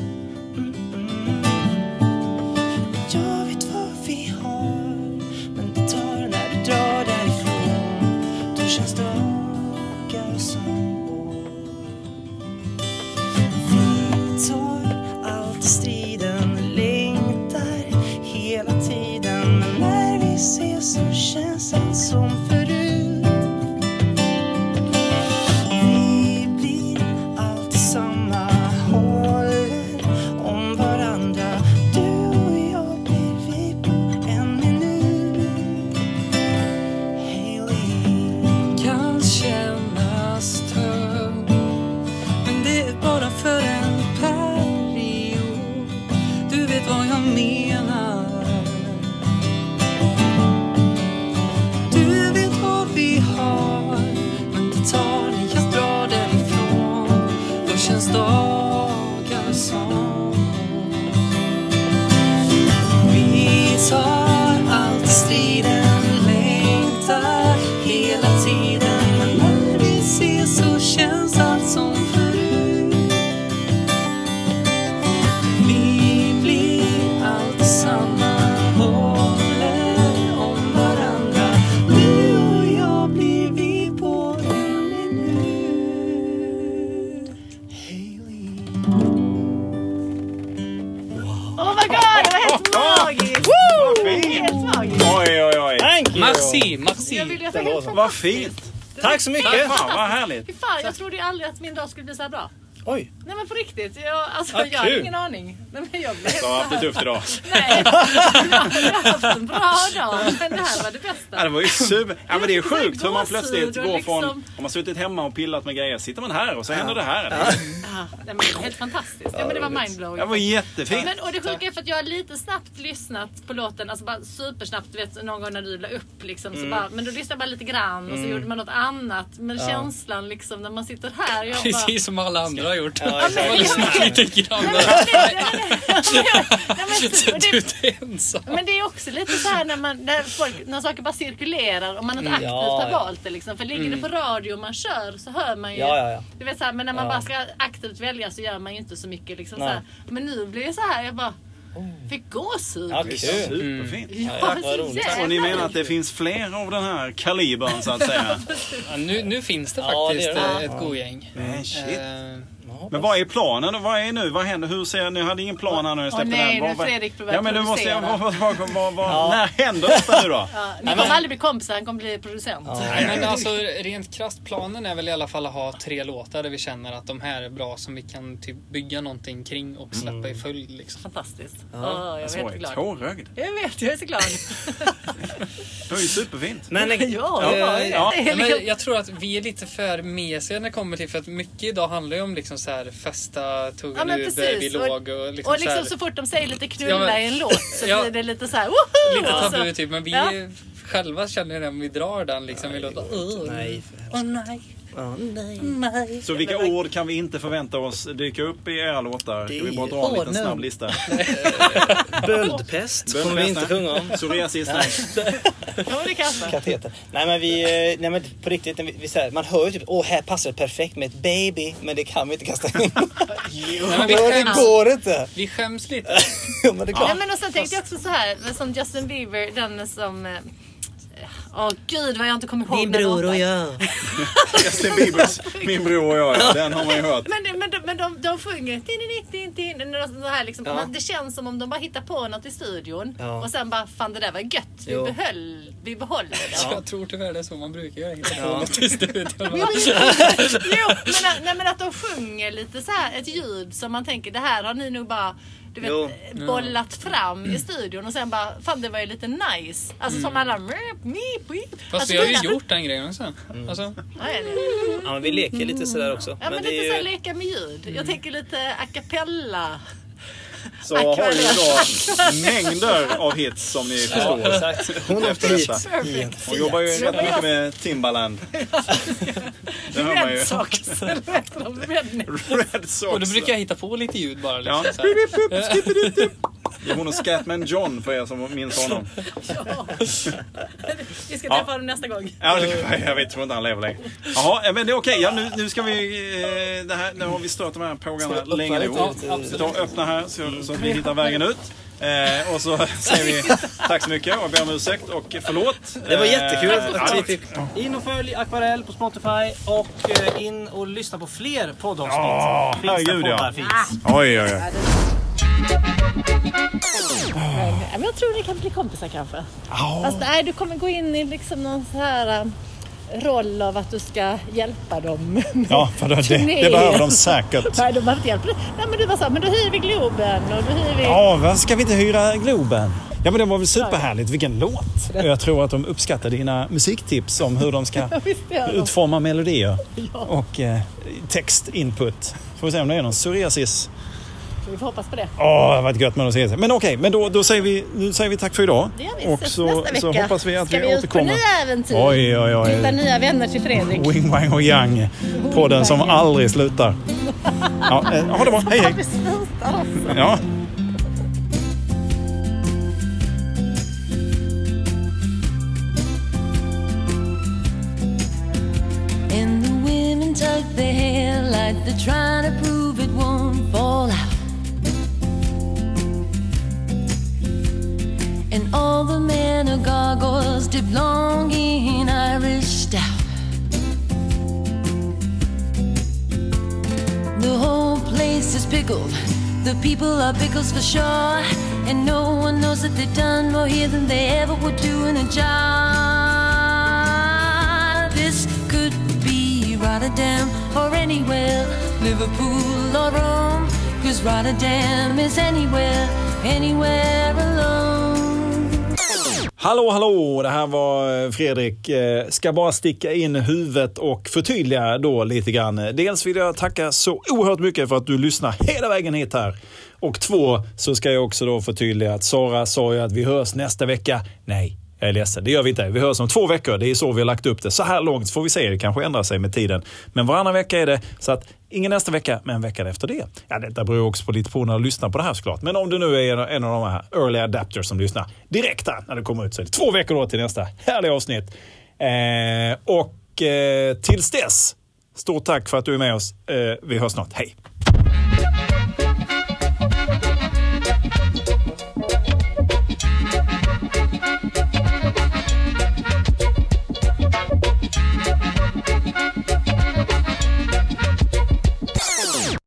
Speaker 3: Mm, mm. Jag vet vad vi har Men det tar när du drar därifrån Då känns dagar som år Vi tar alltid striden Längtar hela tiden Men när vi ses så känns allt som förut vi blir alltid samma håller om varandra. Du och jag blir vi på en minut. Hailey kan kännas tung men det är bara för en period. Du vet vad jag menar. Du vet vad vi har Men det tar när jag drar därifrån Då känns dagar som Vi tar allt striden Längtar hela tiden Men när vi ses så känns allt som förut vi blir alltid samma, håller om varandra. Du och jag blir vi på en minut. Hailey.
Speaker 1: Oh my god, det var helt magiskt! Helt magiskt!
Speaker 2: Oj, oj, oj.
Speaker 3: Thank you!
Speaker 5: Merci,
Speaker 1: Jag
Speaker 5: merci.
Speaker 1: vill att det var helt fantastiskt.
Speaker 2: Vad fint!
Speaker 3: Tack så mycket!
Speaker 2: Fan, vad härligt.
Speaker 1: Fy fan, jag trodde ju aldrig att min dag skulle bli så här bra.
Speaker 3: Oj,
Speaker 1: Nej men på riktigt, jag, alltså,
Speaker 3: Vad
Speaker 1: jag har
Speaker 3: kul.
Speaker 1: ingen aning. Nej, men jag blev
Speaker 2: Jag har haft det tufft idag.
Speaker 1: Nej, jag har haft en bra dag. Men det här var det
Speaker 2: Ja,
Speaker 1: bästa.
Speaker 2: det var ju super. Ja, men det är sjukt hur man
Speaker 1: Gåshud
Speaker 2: plötsligt
Speaker 1: och
Speaker 2: går från...
Speaker 1: liksom-
Speaker 2: Om man suttit hemma och pillat med grejer, sitter man här och så händer det här. Det-
Speaker 1: Ja, nej, men helt fantastiskt. Ja, men det var mindblowing.
Speaker 2: Det var jättefint.
Speaker 1: Men, och det sjuka är för att jag har lite snabbt liksom, lyssnat på låten, alltså bara supersnabbt, du vet någon gång när du la upp liksom.
Speaker 5: Mm.
Speaker 1: Så bara, men då lyssnade jag bara lite grann och så gjorde man något annat. Men känslan liksom när man sitter här, jag bara...
Speaker 5: Precis som alla andra har gjort.
Speaker 3: Ja,
Speaker 5: Jag har
Speaker 1: exakt.
Speaker 5: lyssnat lite grann.
Speaker 1: Nej, men- nej, nej, nej, nej, nej,
Speaker 5: Så
Speaker 1: men-
Speaker 5: Du
Speaker 1: det-
Speaker 5: är inte ensam.
Speaker 1: Men det är också lite så här när, man, när, folk, när saker bara cirkulerar och man inte aktivt
Speaker 3: Ja,
Speaker 1: har
Speaker 3: ja.
Speaker 1: valt det. Liksom. För ligger det
Speaker 5: Mm.
Speaker 1: på radio och man kör så hör man ju.
Speaker 3: Ja, ja, ja.
Speaker 1: Du vet, så här, men när man
Speaker 3: Ja.
Speaker 1: bara ska aktivt välja så gör man ju inte så mycket. Liksom, så
Speaker 3: Nej.
Speaker 1: här. Men nu blir det så här, jag bara Fick gåshud.
Speaker 7: Ja, kul.
Speaker 2: Superfint.
Speaker 1: Ja,
Speaker 7: vad
Speaker 1: så
Speaker 7: roligt.
Speaker 1: jävla
Speaker 2: Så ni menar att
Speaker 1: kul.
Speaker 2: det finns fler av den här kalibern så att säga?
Speaker 5: Ja, nu, nu finns det
Speaker 7: Ja, det
Speaker 5: faktiskt
Speaker 7: gör det.
Speaker 5: eh, ett go-gäng.
Speaker 2: Men shit.
Speaker 5: Eh,
Speaker 2: Men vad är planen då? Vad är nu? Vad händer? Hur ser ni? hade ingen plan här när ni släppte
Speaker 1: Åh, nej,
Speaker 2: den?
Speaker 1: nu
Speaker 2: Vad-
Speaker 1: är Fredrik på väg
Speaker 2: Ja men du måste jag...
Speaker 1: producera.
Speaker 2: Vad, vad, vad, vad, vad, När händer detta nu då?
Speaker 1: Ja, Ni kommer aldrig bli kompisar, han kommer bli producent.
Speaker 5: nej, men alltså, rent krasst, planen är väl i alla fall att ha tre låtar där vi känner att de här är bra som vi kan typ bygga någonting kring och släppa i
Speaker 7: Mm.
Speaker 5: följd. Liksom.
Speaker 1: Fantastiskt. Åh, Alltså, jag
Speaker 2: Så
Speaker 1: är
Speaker 2: är det.
Speaker 1: jätteglad. Jag vet, jag är så glad.
Speaker 2: Det var ju superfint.
Speaker 7: Men
Speaker 1: Ja,
Speaker 2: Ja, ja.
Speaker 1: det är
Speaker 5: Ja,
Speaker 1: liksom-
Speaker 5: men jag tror att vi är lite för mesiga när det kommer till för att mycket idag handlar ju om liksom så här festa, tog
Speaker 1: Ja,
Speaker 5: en
Speaker 1: men
Speaker 5: Uber, vi
Speaker 1: precis. Och-
Speaker 5: låg och liksom,
Speaker 1: Och liksom
Speaker 5: så
Speaker 1: så fort de säger lite
Speaker 5: Ja,
Speaker 1: knulla
Speaker 5: men-
Speaker 1: i en låt så
Speaker 5: Ja.
Speaker 1: blir det lite så här
Speaker 5: här,
Speaker 1: woho!
Speaker 5: lite
Speaker 1: Och så-
Speaker 5: tabu typ men vi
Speaker 1: alltså- Ja.
Speaker 5: själva känner ju det om vi drar den liksom. Vi låter, "Åh,
Speaker 7: Nej. Mm.
Speaker 5: åh, nej.
Speaker 2: Så vilka ord kan vi inte förvänta oss dyka upp i era låtar? Ska vi bara dra en liten
Speaker 7: Honung.
Speaker 2: snabb lista?
Speaker 7: Böldpest kommer vi inte
Speaker 2: Böldpest, nej.
Speaker 7: sjunga om.
Speaker 2: Psoriasis? Nej.
Speaker 1: Jo, det kanske.
Speaker 7: Kateter. Nej men vi, eh, nej men på riktigt, när vi, vi, så här, man hör ju typ åh här passar det perfekt med ett baby. Men det kan vi inte kasta in.
Speaker 5: Nej, men vi,
Speaker 7: det
Speaker 5: skäms,
Speaker 7: går inte.
Speaker 5: vi skäms lite.
Speaker 7: Ja, men det är klart.
Speaker 1: Nej, men och sen tänkte jag också så här, som Justin Bieber, den som... eh, Åh gud vad jag inte kommer ihåg den låten.
Speaker 7: jag.
Speaker 2: Justin Biebers Min bror och jag, ja. den har man ju hört.
Speaker 1: Men, det- men, de, men de, de sjunger tin, tin, tin, tin, tin, och så här liksom.
Speaker 7: Ja.
Speaker 1: Man, Det känns som om de bara hittar på något i studion
Speaker 7: Ja.
Speaker 1: och sen bara fan det där var gött. Vi,
Speaker 7: Jo.
Speaker 1: behöll, vi behåller det.
Speaker 5: Jag tror tyvärr det är så man brukar göra. Hitta på något i studion.
Speaker 1: Jo, men, nej, men att de sjunger lite så här ett ljud som man tänker det här har ni nog bara du vet, eh,
Speaker 7: Jo.
Speaker 1: bollat fram i studion och sen bara fan det var ju lite nice. Alltså som alla meep, meep, meep.
Speaker 5: Mm. Fast
Speaker 1: Alltså,
Speaker 5: vi har
Speaker 1: kunna-
Speaker 5: ju gjort den grejen också.
Speaker 7: Mm.
Speaker 5: Alltså,
Speaker 1: Ja, är det?
Speaker 7: Ja men vi leker lite sådär också.
Speaker 1: Ja men,
Speaker 7: det är
Speaker 1: lite så här
Speaker 7: ju- Mm.
Speaker 1: leka med ljud. Jag tänker lite a cappella.
Speaker 2: Så har ju då mängder av hits som ni förstår.
Speaker 7: Ja, exakt. Hon åkte
Speaker 2: Efter
Speaker 7: hit.
Speaker 2: detta.
Speaker 1: Perfect.
Speaker 2: Hon jobbar ju rätt mycket med Timbaland. Det hör man ju.
Speaker 1: Red Sox. eller vad heter de? Redneck.
Speaker 2: Red Sox.
Speaker 5: och då brukar jag hitta på lite ljud bara. Liksom,
Speaker 2: Ja.
Speaker 5: så här.
Speaker 2: Det är hon och Scatman John för er som minns honom.
Speaker 1: Vi ska träffa dem nästa gång.
Speaker 2: Ja, det- jag vet, tror inte han lever längre. Jaha, ja, men det är okej. Ja, nu, nu ska vi... eh, Det här, nu har vi stört de här pågarna länge nog. Så
Speaker 5: Ja, absolut.
Speaker 2: ta och öppna här så, så att vi hittar vägen ut. Eh, och så säger vi tack så mycket och ber om ursäkt och förlåt.
Speaker 7: Det var jättekul
Speaker 2: Eh,
Speaker 7: att vi
Speaker 2: ja,
Speaker 7: fick
Speaker 8: In och följ Akvarell på Spotify och eh, in och lyssna på fler poddavsnitt.
Speaker 2: Ja,
Speaker 8: Finns där
Speaker 2: herregud, ja.
Speaker 8: poddar finns.
Speaker 2: Oj, oj, oj.
Speaker 1: Men jag tror ni kan bli kompisar kanske. Fast nej, du kommer gå in i liksom någon så här eh, roll av att du ska hjälpa dem.
Speaker 2: Ja, för det,
Speaker 1: Turné.
Speaker 2: det, det behöver de säkert.
Speaker 1: nej, de behöver inte hjälpa dig. Nej, men du var så här, men då hyr vi Globen och då hyr vi...
Speaker 2: Ja, vad ska vi inte hyra Globen? Ja, men det var väl superhärligt. Vilken låt! Jag tror att de uppskattar dina musiktips om hur de ska
Speaker 1: Visst gör de.
Speaker 2: utforma melodier och eh, textinput. Får vi se om det är någon psoriasis.
Speaker 1: Vi får hoppas på det.
Speaker 2: Åh, det har varit gött med någon psoriasis. Men okej, men då, då säger vi, nu säger vi tack för idag.
Speaker 1: Det gör vi.
Speaker 2: Och
Speaker 1: Ses
Speaker 2: så,
Speaker 1: nästa
Speaker 2: så
Speaker 1: vecka.
Speaker 2: hoppas vi att
Speaker 1: ska
Speaker 2: vi återkommer.
Speaker 1: ut på nya äventyr?
Speaker 2: Oj, oj, oj.
Speaker 1: Hitta nya vänner till Fredrik.
Speaker 2: Wing Wang och Yang. Podden som aldrig slutar. Ja, eh, ha det bra. Hej, hej.
Speaker 1: Vi slutar alltså.
Speaker 2: Ja.
Speaker 9: And the women tuck their hair like they're trying to prove it won't fall out. And all the men are gargoyles dipped long in Irish stout. The whole place is pickled. The people are pickles for sure. And no one knows that they've done more here than they ever would do in a job. This could be Rotterdam or anywhere, Liverpool or Rome. Cause Rotterdam is anywhere, anywhere alone.
Speaker 2: Hallå, hallå! Det här var eh, Fredrik. Eh, Ska bara sticka in huvudet och förtydliga då lite grann. Eh, Dels vill jag tacka så oerhört mycket för att du lyssnar hela vägen hit här. Och två, så ska jag också då förtydliga att Sara sa ju att vi hörs nästa vecka. Nej, jag är ledsen. Det gör vi inte. Vi hörs om två veckor. Det är så vi har lagt upp det. Så här långt får vi se. Det kanske ändrar sig med tiden. Men varannan vecka är det. Så att ingen nästa vecka, men veckan efter det. Ja, detta beror ju också på lite på när du lyssnar på det här såklart. Men om du nu är en, en av de här early adapters som lyssnar direkt här när det kommer ut så är det två veckor då till nästa härliga avsnitt. Eh, och eh, tills dess, stort tack för att du är med oss. Eh, vi hörs snart. Hej!